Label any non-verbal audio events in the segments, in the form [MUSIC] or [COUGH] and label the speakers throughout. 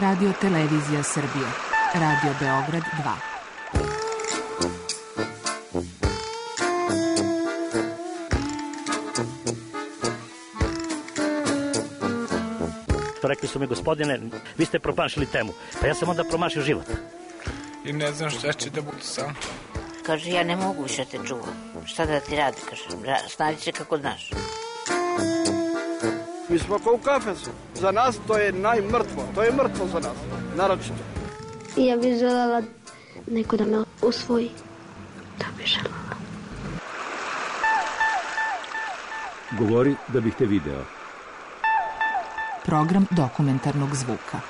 Speaker 1: Radio Televizija Srbije. Radio Beograd 2.
Speaker 2: To rekli su mi, gospodine, vi ste promašili temu. Pa ja sam onda promašio život.
Speaker 3: i ne znam šta će da bude sam.
Speaker 4: Kaže, ja ne mogu više da te čuvam. Šta da ti radi, kaže. Ra- Snađi se kako znaš.
Speaker 5: Mi smo kao u kafesu. Za nas to je najmrtvo. To je mrtvo za nas. Naročito.
Speaker 6: I ja bih želela neko da me usvoji. To bih želela.
Speaker 7: Govori da bih te video.
Speaker 1: Program dokumentarnog zvuka.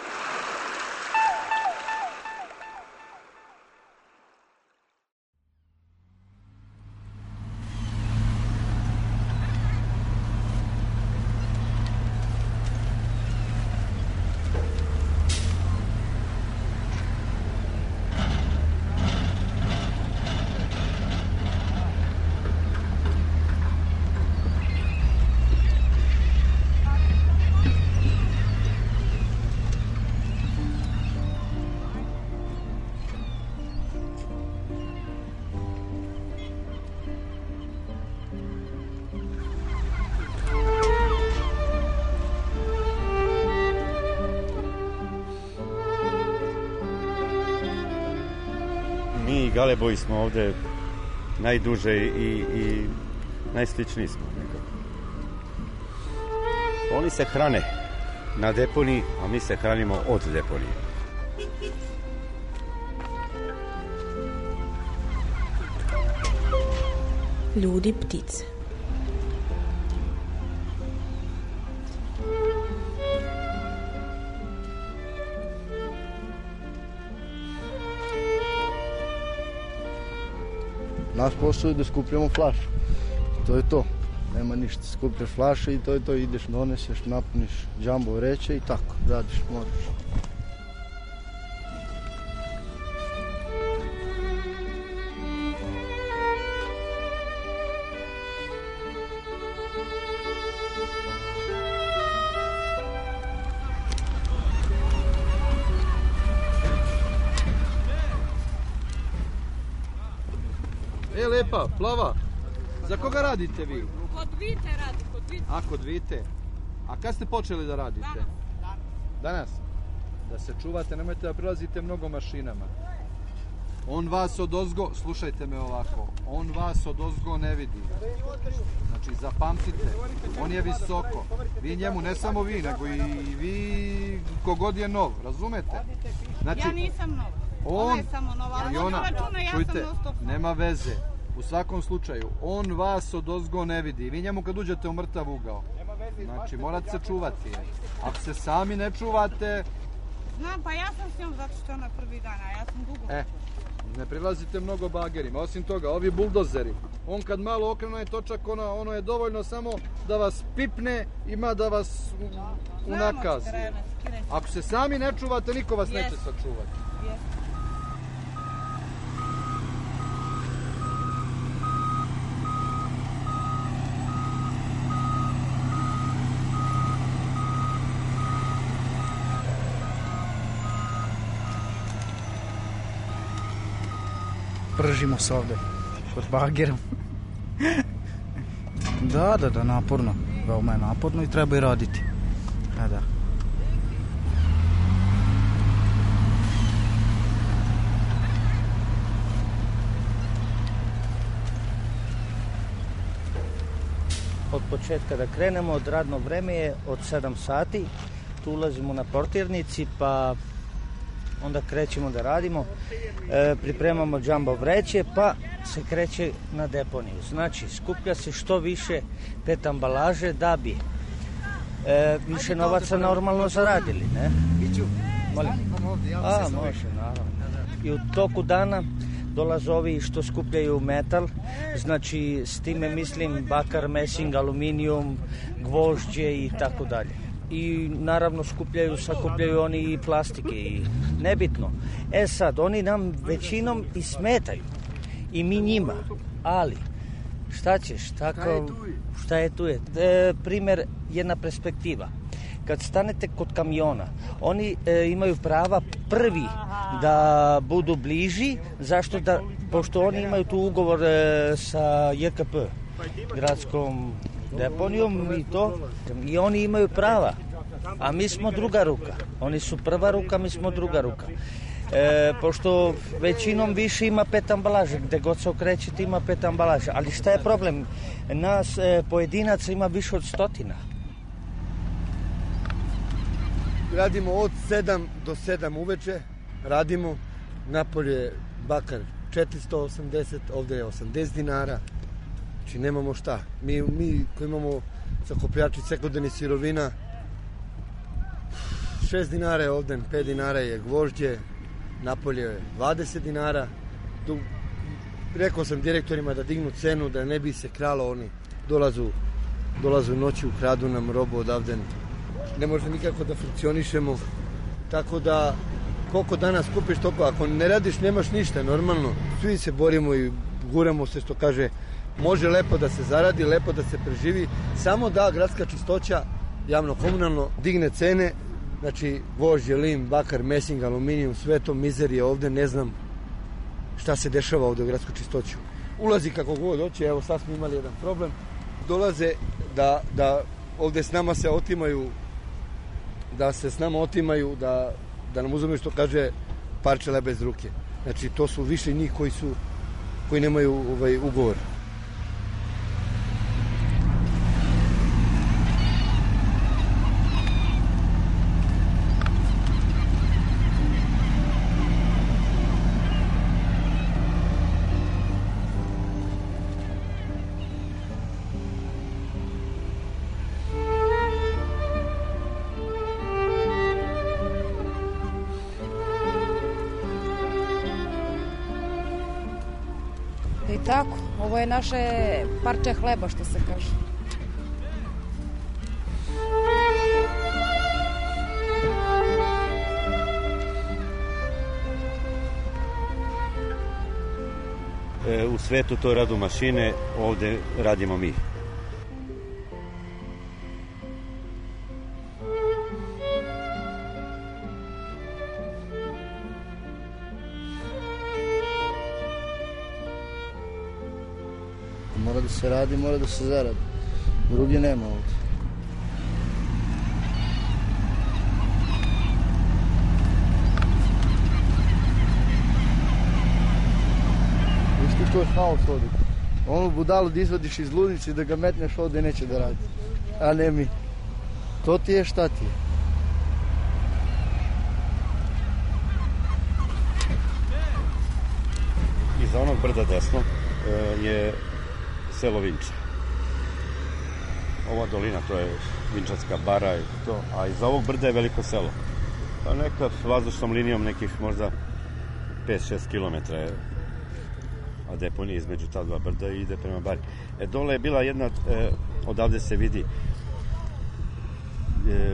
Speaker 8: Mi i Galeboji smo ovde najduže i, i najsličniji smo nekako. Oni se hrane na deponiji, a mi se hranimo od deponije.
Speaker 9: Ljudi ptice.
Speaker 10: Naš posao je da skupljamo flašu. To je to. Nema ništa. Skupljaš flaše i to je to. Ideš, doneseš, napuniš džambo vreće i tako. Radiš, moraš.
Speaker 5: E, lepa, plava. Za koga radite vi?
Speaker 11: Kod Vite radi, kod Vite.
Speaker 5: A kod Vite. A kad ste počeli da radite? Danas. Danas? Da se čuvate, nemojte da prelazite mnogo mašinama. On vas od ozgo, slušajte me ovako, on vas od ozgo ne vidi. Znači, zapamtite, on je visoko. Vi njemu, ne samo vi, nego i vi, kogod je nov, razumete? Znači,
Speaker 11: ja nisam nova.
Speaker 5: on-
Speaker 11: Ona je samo nova. ali
Speaker 5: i
Speaker 11: ona
Speaker 5: ona,
Speaker 11: računa, ja
Speaker 5: čujte,
Speaker 11: sam non-stop.
Speaker 5: nema veze. U svakom slučaju, on vas od ozgo ne vidi. Vi njemu kad uđete u mrtav ugao. Znači, morate se čuvati. je. Ako se sami ne čuvate,
Speaker 11: Znam, pa ja sam s njom zato što je ona prvi dan, a ja sam dugo.
Speaker 5: E, ne prilazite mnogo bagerima. Osim toga, ovi buldozeri, on kad malo okrene točak, ono, ono je dovoljno samo da vas pipne, ima da vas u, unakazi. Ako se sami ne čuvate, niko vas neće
Speaker 11: Jeste.
Speaker 5: sačuvati.
Speaker 12: Pržimo se ovde, pod [LAUGHS] bagerom. da, da, da, naporno. Veoma je naporno i treba i raditi. Da, da.
Speaker 2: Od početka da krenemo, od radno vreme je od 7 sati, tu ulazimo na portirnici, pa onda krećemo da radimo, e, pripremamo džambo vreće, pa se kreće na deponiju. Znači, skuplja se što više pet ambalaže da bi e, više novaca normalno zaradili, ne? Biću, Molim. A, može, naravno. I u toku dana dolaze ovi što skupljaju metal, znači s time mislim bakar, mesing, aluminijum, gvožđe i tako dalje. I naravno skupljaju, sakupljaju oni i plastike i nebitno. E sad, oni nam većinom i smetaju i mi njima, ali šta ćeš, tako, šta je tu je. E, primer, jedna perspektiva. kad stanete kod kamiona, oni e, imaju prava prvi da budu bliži, zašto da, pošto oni imaju tu ugovor e, sa JKP, gradskom deponijom i to, i oni imaju prava, a mi smo druga ruka. Oni su prva ruka, mi smo druga ruka. E, pošto većinom više ima pet ambalaža, gdje god se okrećete ima pet ambalaža. Ali šta je problem? Nas e, pojedinaca ima više od stotina.
Speaker 13: Radimo od 7 do 7 uveče, radimo, napolje bakar 480, ovdje je 80 dinara, znači nemamo šta. Mi, mi koji imamo zakopljači sekundarnih sirovina, 6 dinara je ovden, 5 dinara je gvožđe, napolje je 20 dinara. Tu, rekao sam direktorima da dignu cenu, da ne bi se kralo oni. Dolazu, dolazu noći, ukradu nam robu odavden. Ne može nikako da funkcionišemo. Tako da, koliko danas kupiš toliko, ako ne radiš nemaš ništa, normalno. Svi se borimo i guramo se što kaže, može lepo da se zaradi, lepo da se preživi, samo da gradska čistoća javno-komunalno digne cene, Znači, vožđe, lim, bakar, mesing, aluminijum, sve to mizerije ovdje, ne znam šta se dešava ovdje u gradsku čistoću. Ulazi kako god hoće, evo sad smo imali jedan problem. Dolaze da, da ovdje s nama se otimaju, da se s nama otimaju, da, da nam uzme što kaže parčela bez ruke. Znači, to su više njih koji su, koji nemaju ovaj, ugovor.
Speaker 14: I tako, ovo je naše parče hleba što se kaže.
Speaker 8: E, u svetu to radu mašine, ovdje radimo mi.
Speaker 10: Mora da se radi, mora da se zaradi. Drugi nema ovdje. Viš ti to je haos ovdje. Ono budalo da izvadiš iz ludnice i da ga metneš ovdje neće da radi. A ne mi. To ti je šta ti je.
Speaker 8: Iza onog brda desno e, je selo Vinča. Ova dolina, to je Vinčanska bara i to, a iza ovog brda je veliko selo. Pa neka s vazdušnom linijom nekih možda 5-6 km je a deponija između ta dva brda i ide prema bari. E, dole je bila jedna, e, odavde se vidi e,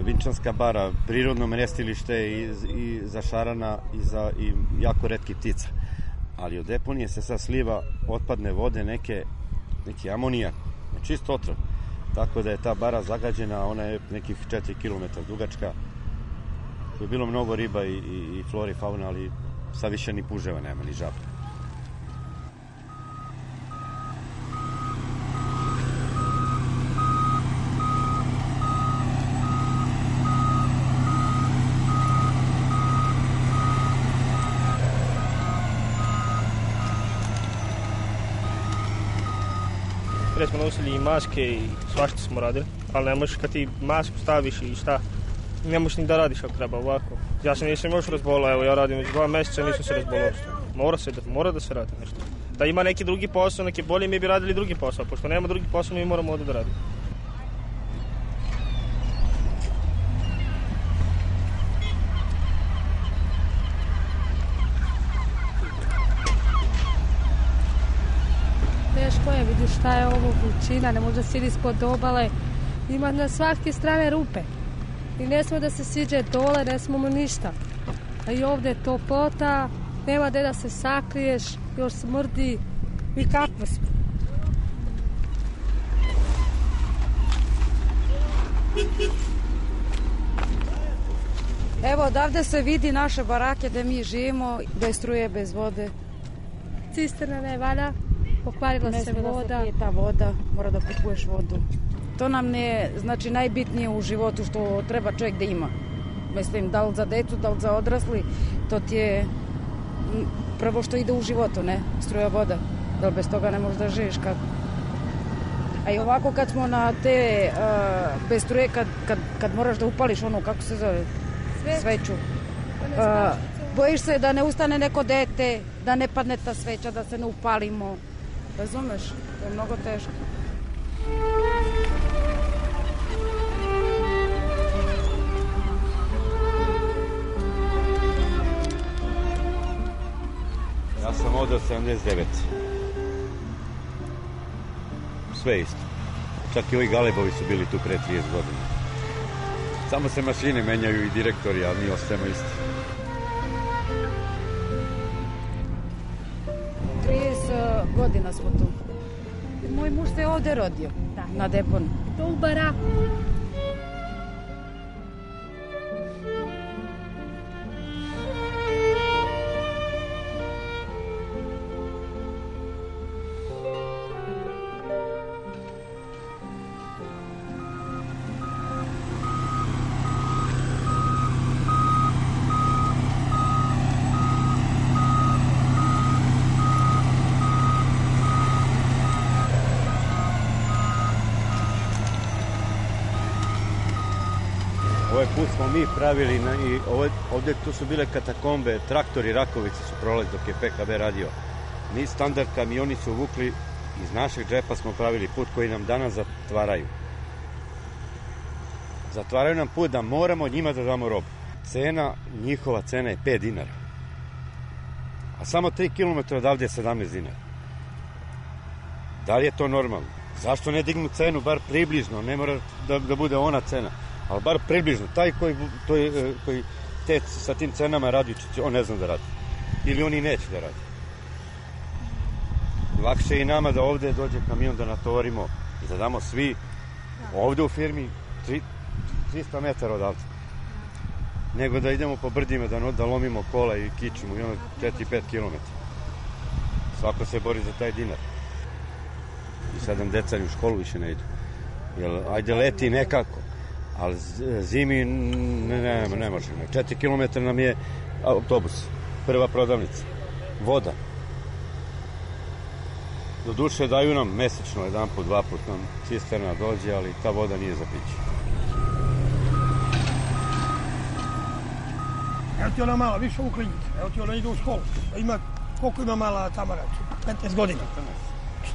Speaker 8: Vinčanska bara, prirodno mrestilište i, i zašarana i, za, i jako redki ptica. Ali od deponije se sad sliva otpadne vode neke neki amonijak, čist otrov. Tako da je ta bara zagađena, ona je nekih 4 km dugačka. Tu je bilo mnogo riba i, i, i flori, fauna, ali sad više ni puževa nema, ni žabra.
Speaker 15: Prije smo nosili da i maske i svašta smo radili, ali ne možeš kad ti masku staviš i šta, ne možeš ni da radiš kako treba ovako. Ja se nisam još razbolao, evo ja radim već dva mjeseca, nisam se razbolao. Mora se da, mora da se radi nešto. Da ima neki drugi posao, neki bolje, mi bi radili drugi posao, pošto nema drugi posao, mi moramo ovdje da radimo.
Speaker 16: teško je, vidiš šta je ovo vrućina, ne može sidi ispod obale, ima na svake strane rupe. I ne smo da se siđe dole, ne smo mu ništa. A i ovdje je toplota, nema gdje da se sakriješ, još smrdi. I kako smo?
Speaker 14: Evo odavde se vidi naše barake da mi živimo, bez struje, bez vode.
Speaker 16: Cisterna ne valja, pokvarila
Speaker 14: Ne
Speaker 16: se
Speaker 14: sme da
Speaker 16: voda.
Speaker 14: pije ta voda, mora da kupuješ vodu. To nam ne, znači najbitnije u životu što treba čovjek da ima. Mislim, da li za decu, da li za odrasli, to ti je m, prvo što ide u životu, ne? Struja voda. Da li bez toga ne možeš da živiš kako? A i ovako kad smo na te a, bez struje, kad, kad, kad moraš da upališ onu, kako se zove, sveću.
Speaker 16: Da
Speaker 14: A, bojiš se da ne ustane neko dete, da ne padne ta sveća, da se ne upalimo. Razumeš? To je mnogo teško.
Speaker 8: Ja sam ovdje od 79. Sve isto. Čak i ovi Galebovi su bili tu pre 30 godina. Samo se mašine menjaju i direktori, a mi ostajemo isti.
Speaker 14: 30 godina smo tu. Moj muž se je ovdje rodio. Na deponu.
Speaker 16: Da. To u baraku.
Speaker 8: Ovaj put smo mi pravili na, i ovaj, ovdje tu su bile katakombe, traktori Rakovice su prolaz dok je PKB radio. Mi standard kamioni su vukli iz našeg džepa smo pravili put koji nam danas zatvaraju. Zatvaraju nam put da moramo njima da damo robu. Cena, njihova cena je 5 dinara. A samo 3 km odavde je 17 dinara. Da li je to normalno? Zašto ne dignu cenu, bar približno, ne mora da, da bude ona cena, ali bar približno. Taj koji, to je, e, koji te, sa tim cenama radi, će- on ne zna da radi. Ili oni neće da radi. Lakše je i nama da ovdje dođe kamion da natovarimo i da damo svi ovdje u firmi tri- 300 metara odavde. Nego da idemo po brdima, da, no- da lomimo kola i kičimo i ono 4-5 km. Svako se bori za taj dinar i sad nam deca ni u školu više ne idu. Jel, ajde leti nekako, ali z- zimi ne, ne, ne možemo. Četiri kilometra nam je autobus, prva prodavnica, voda. Doduše daju nam mesečno jedan put, dva put nam cisterna dođe, ali ta voda nije za piće.
Speaker 17: Evo ti ona mala, više ovu klinicu. Evo ti ona ide u školu. Pa Ima, koliko ima mala Tamara? 15 godina.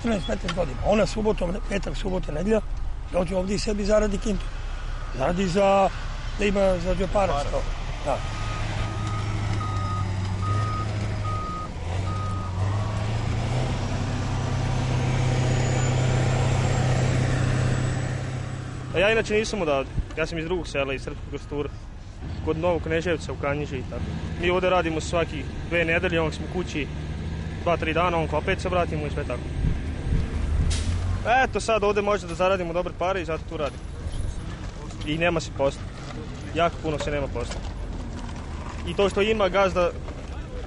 Speaker 17: 14-15 godina. Ona subotom, petak, subota, nedlja, dođe ovdje i sebi zaradi kintu. Zaradi za, da ima za džepara. sto. Da.
Speaker 15: A ja inače nisam odavde. Ja sam iz drugog sela, iz Srpskog Kostura. Kod Novog Kneževca u Kanjiži i tako. Mi ovdje radimo svaki dve nedelje, onda smo kući dva, tri dana, onda opet se vratimo i sve tako. Eto sad ovdje možda da zaradimo dobre pare i zato tu radimo. I nema se posla. Jako puno se nema posla. I to što ima gazda,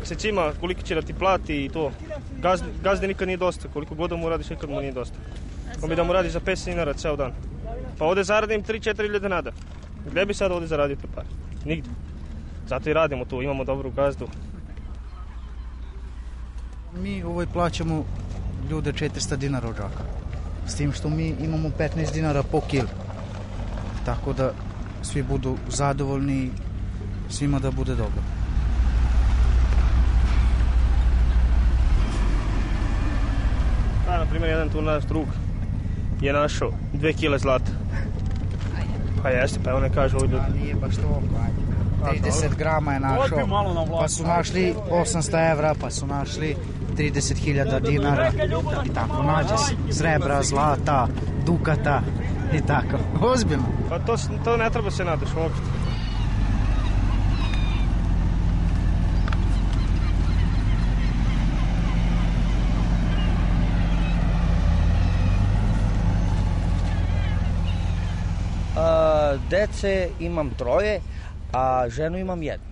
Speaker 15: se cima koliko će da ti plati i to. Gazde, gazde nikad nije dosta, koliko god da mu radiš nikad mu nije dosta. On bi da mu radi za 500 dinara ceo dan. Pa ovdje zaradim 3-4 hiljade nada. Gdje bi sad ovdje zaradio te pare? Nigde. Zato i radimo tu, imamo dobru gazdu.
Speaker 12: Mi ovoj plaćamo ljude 400 dinara od žaka. S tim što mi imamo 15 dinara po kil. Tako da svi budu zadovoljni i svima da bude dobro.
Speaker 15: A, na primjer, jedan tu naš drug je našao dve kile zlata. Pa jeste, pa evo ne kažu ovi ljudi.
Speaker 12: nije baš to, 30 grama je našao,
Speaker 15: Odbi malo na vlast.
Speaker 12: pa su našli 800 evra, pa su našli 30.000 dinara i tako nađe se. Srebra, zlata, dukata i tako. Ozbiljno.
Speaker 15: Pa to, s- to ne treba se nadaš uopšte.
Speaker 2: A, dece imam troje, a ženu imam jednu.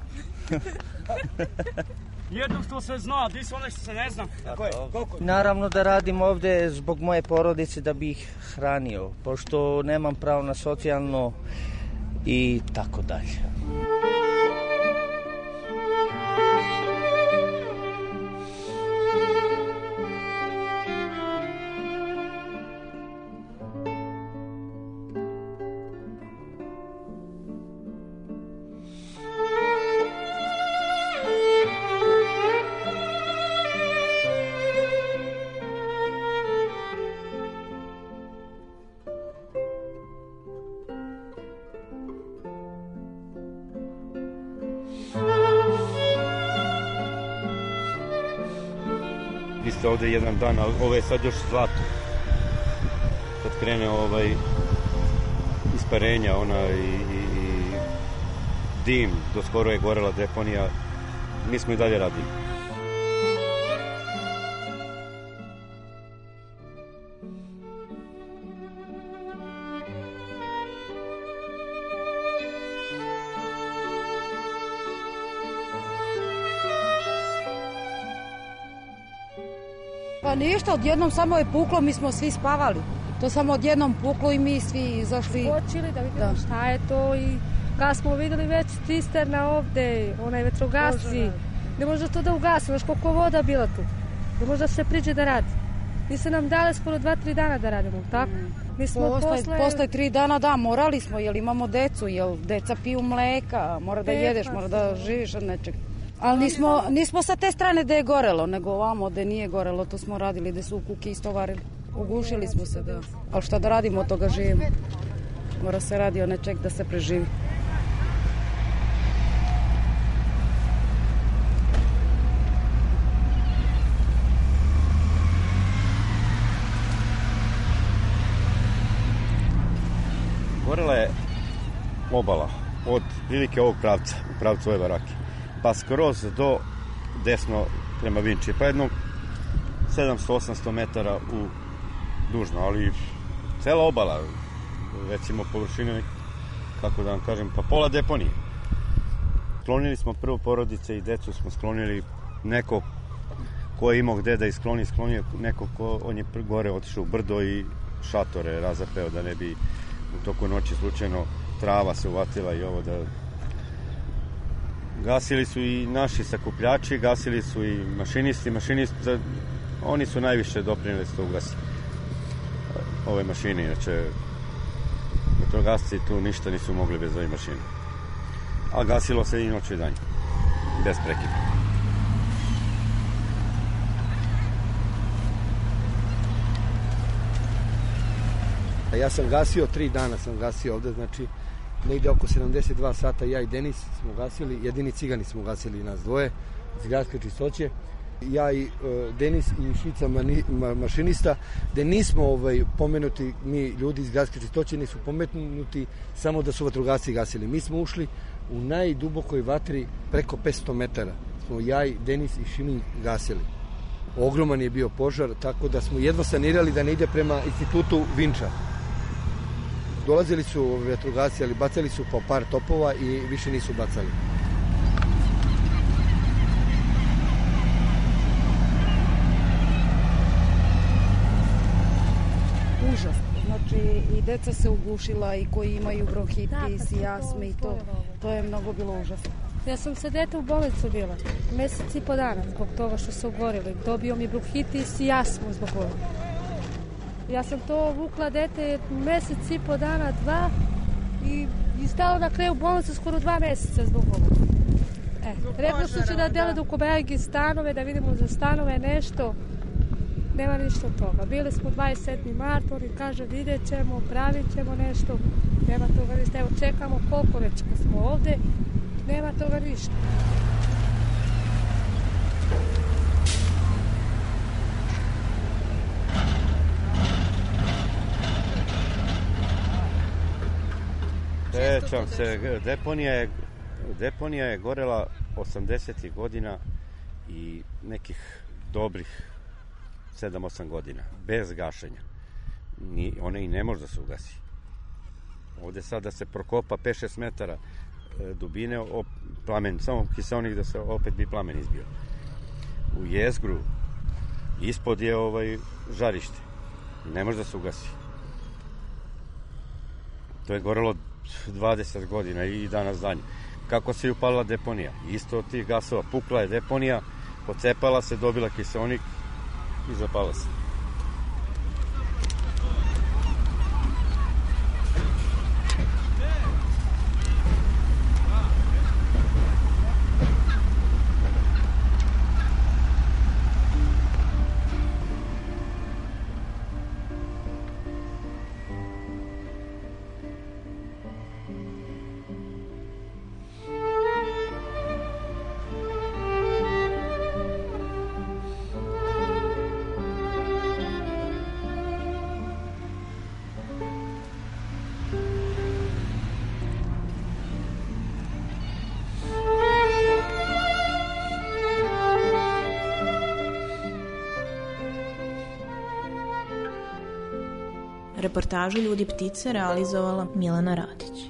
Speaker 18: Jednom što se zna, di su one što se ne zna. Tako je, koliko je?
Speaker 2: Naravno da radim ovdje zbog moje porodice da bi ih hranio, pošto nemam pravo na socijalno i tako dalje.
Speaker 8: Vi ste ovdje jedan dan, ali ovo je sad još zlato. Kad krene ovaj isparenja ona i, i, i dim, do skoro je gorela deponija, mi smo i dalje radili.
Speaker 14: Pa ništa, odjednom samo je puklo, mi smo svi spavali. To samo odjednom puklo i mi svi izašli.
Speaker 16: Skočili da vidimo šta je to i kad smo vidjeli već cisterna ovdje, onaj vetrogasci, ne može to da ugasi, znaš koliko voda bila tu. Ne može da se priđe da radi. Nisu nam dali skoro dva, tri dana da radimo, tako? Mi smo
Speaker 14: Pa Posle,
Speaker 16: posle...
Speaker 14: posle tri dana, da, morali smo, jer imamo decu, jer deca piju mleka, mora da
Speaker 16: Deca
Speaker 14: jedeš, mora da živiš od nečeg. Ali nismo, nismo sa te strane gde je gorelo, nego ovamo gde nije gorelo, to smo radili, gde su u kuki istovarili. Ugušili smo se, da. Ali šta da radimo, od toga živimo. Mora se radi o nečeg da se preživi.
Speaker 8: Gorela je obala od prilike ovog pravca, u pravcu ove barake, pa skroz do desno prema Vinči, pa jedno 700-800 metara u dužno, ali cela obala, recimo površine, nek- kako da vam kažem, pa pola deponije. Sklonili smo prvo porodice i decu smo sklonili neko ko je imao gde da iskloni, sklonio je neko ko, on je pr- gore otišao u brdo i šatore razapeo da ne bi u toku noći slučajno trava se uvatila i ovo da gasili su i naši sakupljači, gasili su i mašinisti, mašinisti, za- oni su najviše doprinili da se to ugasi. Ove mašine, inače, metrogasci tu ništa nisu mogli bez ove mašine. A gasilo se i noć i dan, bez prekida.
Speaker 13: A ja sam gasio, tri dana sam gasio ovdje, znači negdje oko 72 sata ja i Denis smo gasili, jedini cigani smo gasili nas dvoje iz gradske čistoće. Ja i e, Denis i Šica mani- ma- mašinista, gde nismo ovaj, pomenuti, mi ljudi iz gradske čistoće nisu pomenuti samo da su vatrogasci gasili. Mi smo ušli u najdubokoj vatri preko 500 metara. Smo ja i Denis i Šimin gasili. Ogroman je bio požar, tako da smo jedva sanirali da ne ide prema institutu Vinča. Dolazili su vetrogasci, ali bacali su po par topova i više nisu bacali.
Speaker 14: Užas. Znači, i deca se ugušila, i koji
Speaker 16: Da,
Speaker 14: imaju
Speaker 16: pa
Speaker 14: bronhitis, i jasme, i to. To je mnogo bilo užasno.
Speaker 16: Ja sam se dete u bolnicu bila, mjesec i po dana zbog toga što se ugorili. Dobio mi bronhitis i jasmu zbog ovoga. Ja sam to vukla dete mjesec i po dana, dva i, i stalo na kraju u bolnicu skoro dva mjeseca zbog ovoga. E, rekli su će da dele do Kobajagi stanove, da vidimo za stanove nešto. Nema ništa od toga. Bili smo 27. mart, oni kaže vidjet ćemo, pravit ćemo nešto. Nema toga ništa. Evo čekamo koliko već kad smo ovdje. Nema toga ništa.
Speaker 8: Sećam se, g- deponija je, deponija je gorela 80. godina i nekih dobrih 7-8 godina, bez gašenja. Ni, ona i ne može da se ugasi. Ovde sad da se prokopa 5-6 metara e, dubine o plamen, samo kiselnik da se opet bi plamen izbio. U jezgru ispod je ovaj žarište. Ne može da se ugasi. To je gorelo 20 godina i danas danje. Kako se i upalila deponija? Isto od tih gasova pukla je deponija, pocepala se, dobila kiselnik i zapala se.
Speaker 9: Reportažu Ljudi ptice realizovala Milana Radić.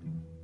Speaker 19: Thank you.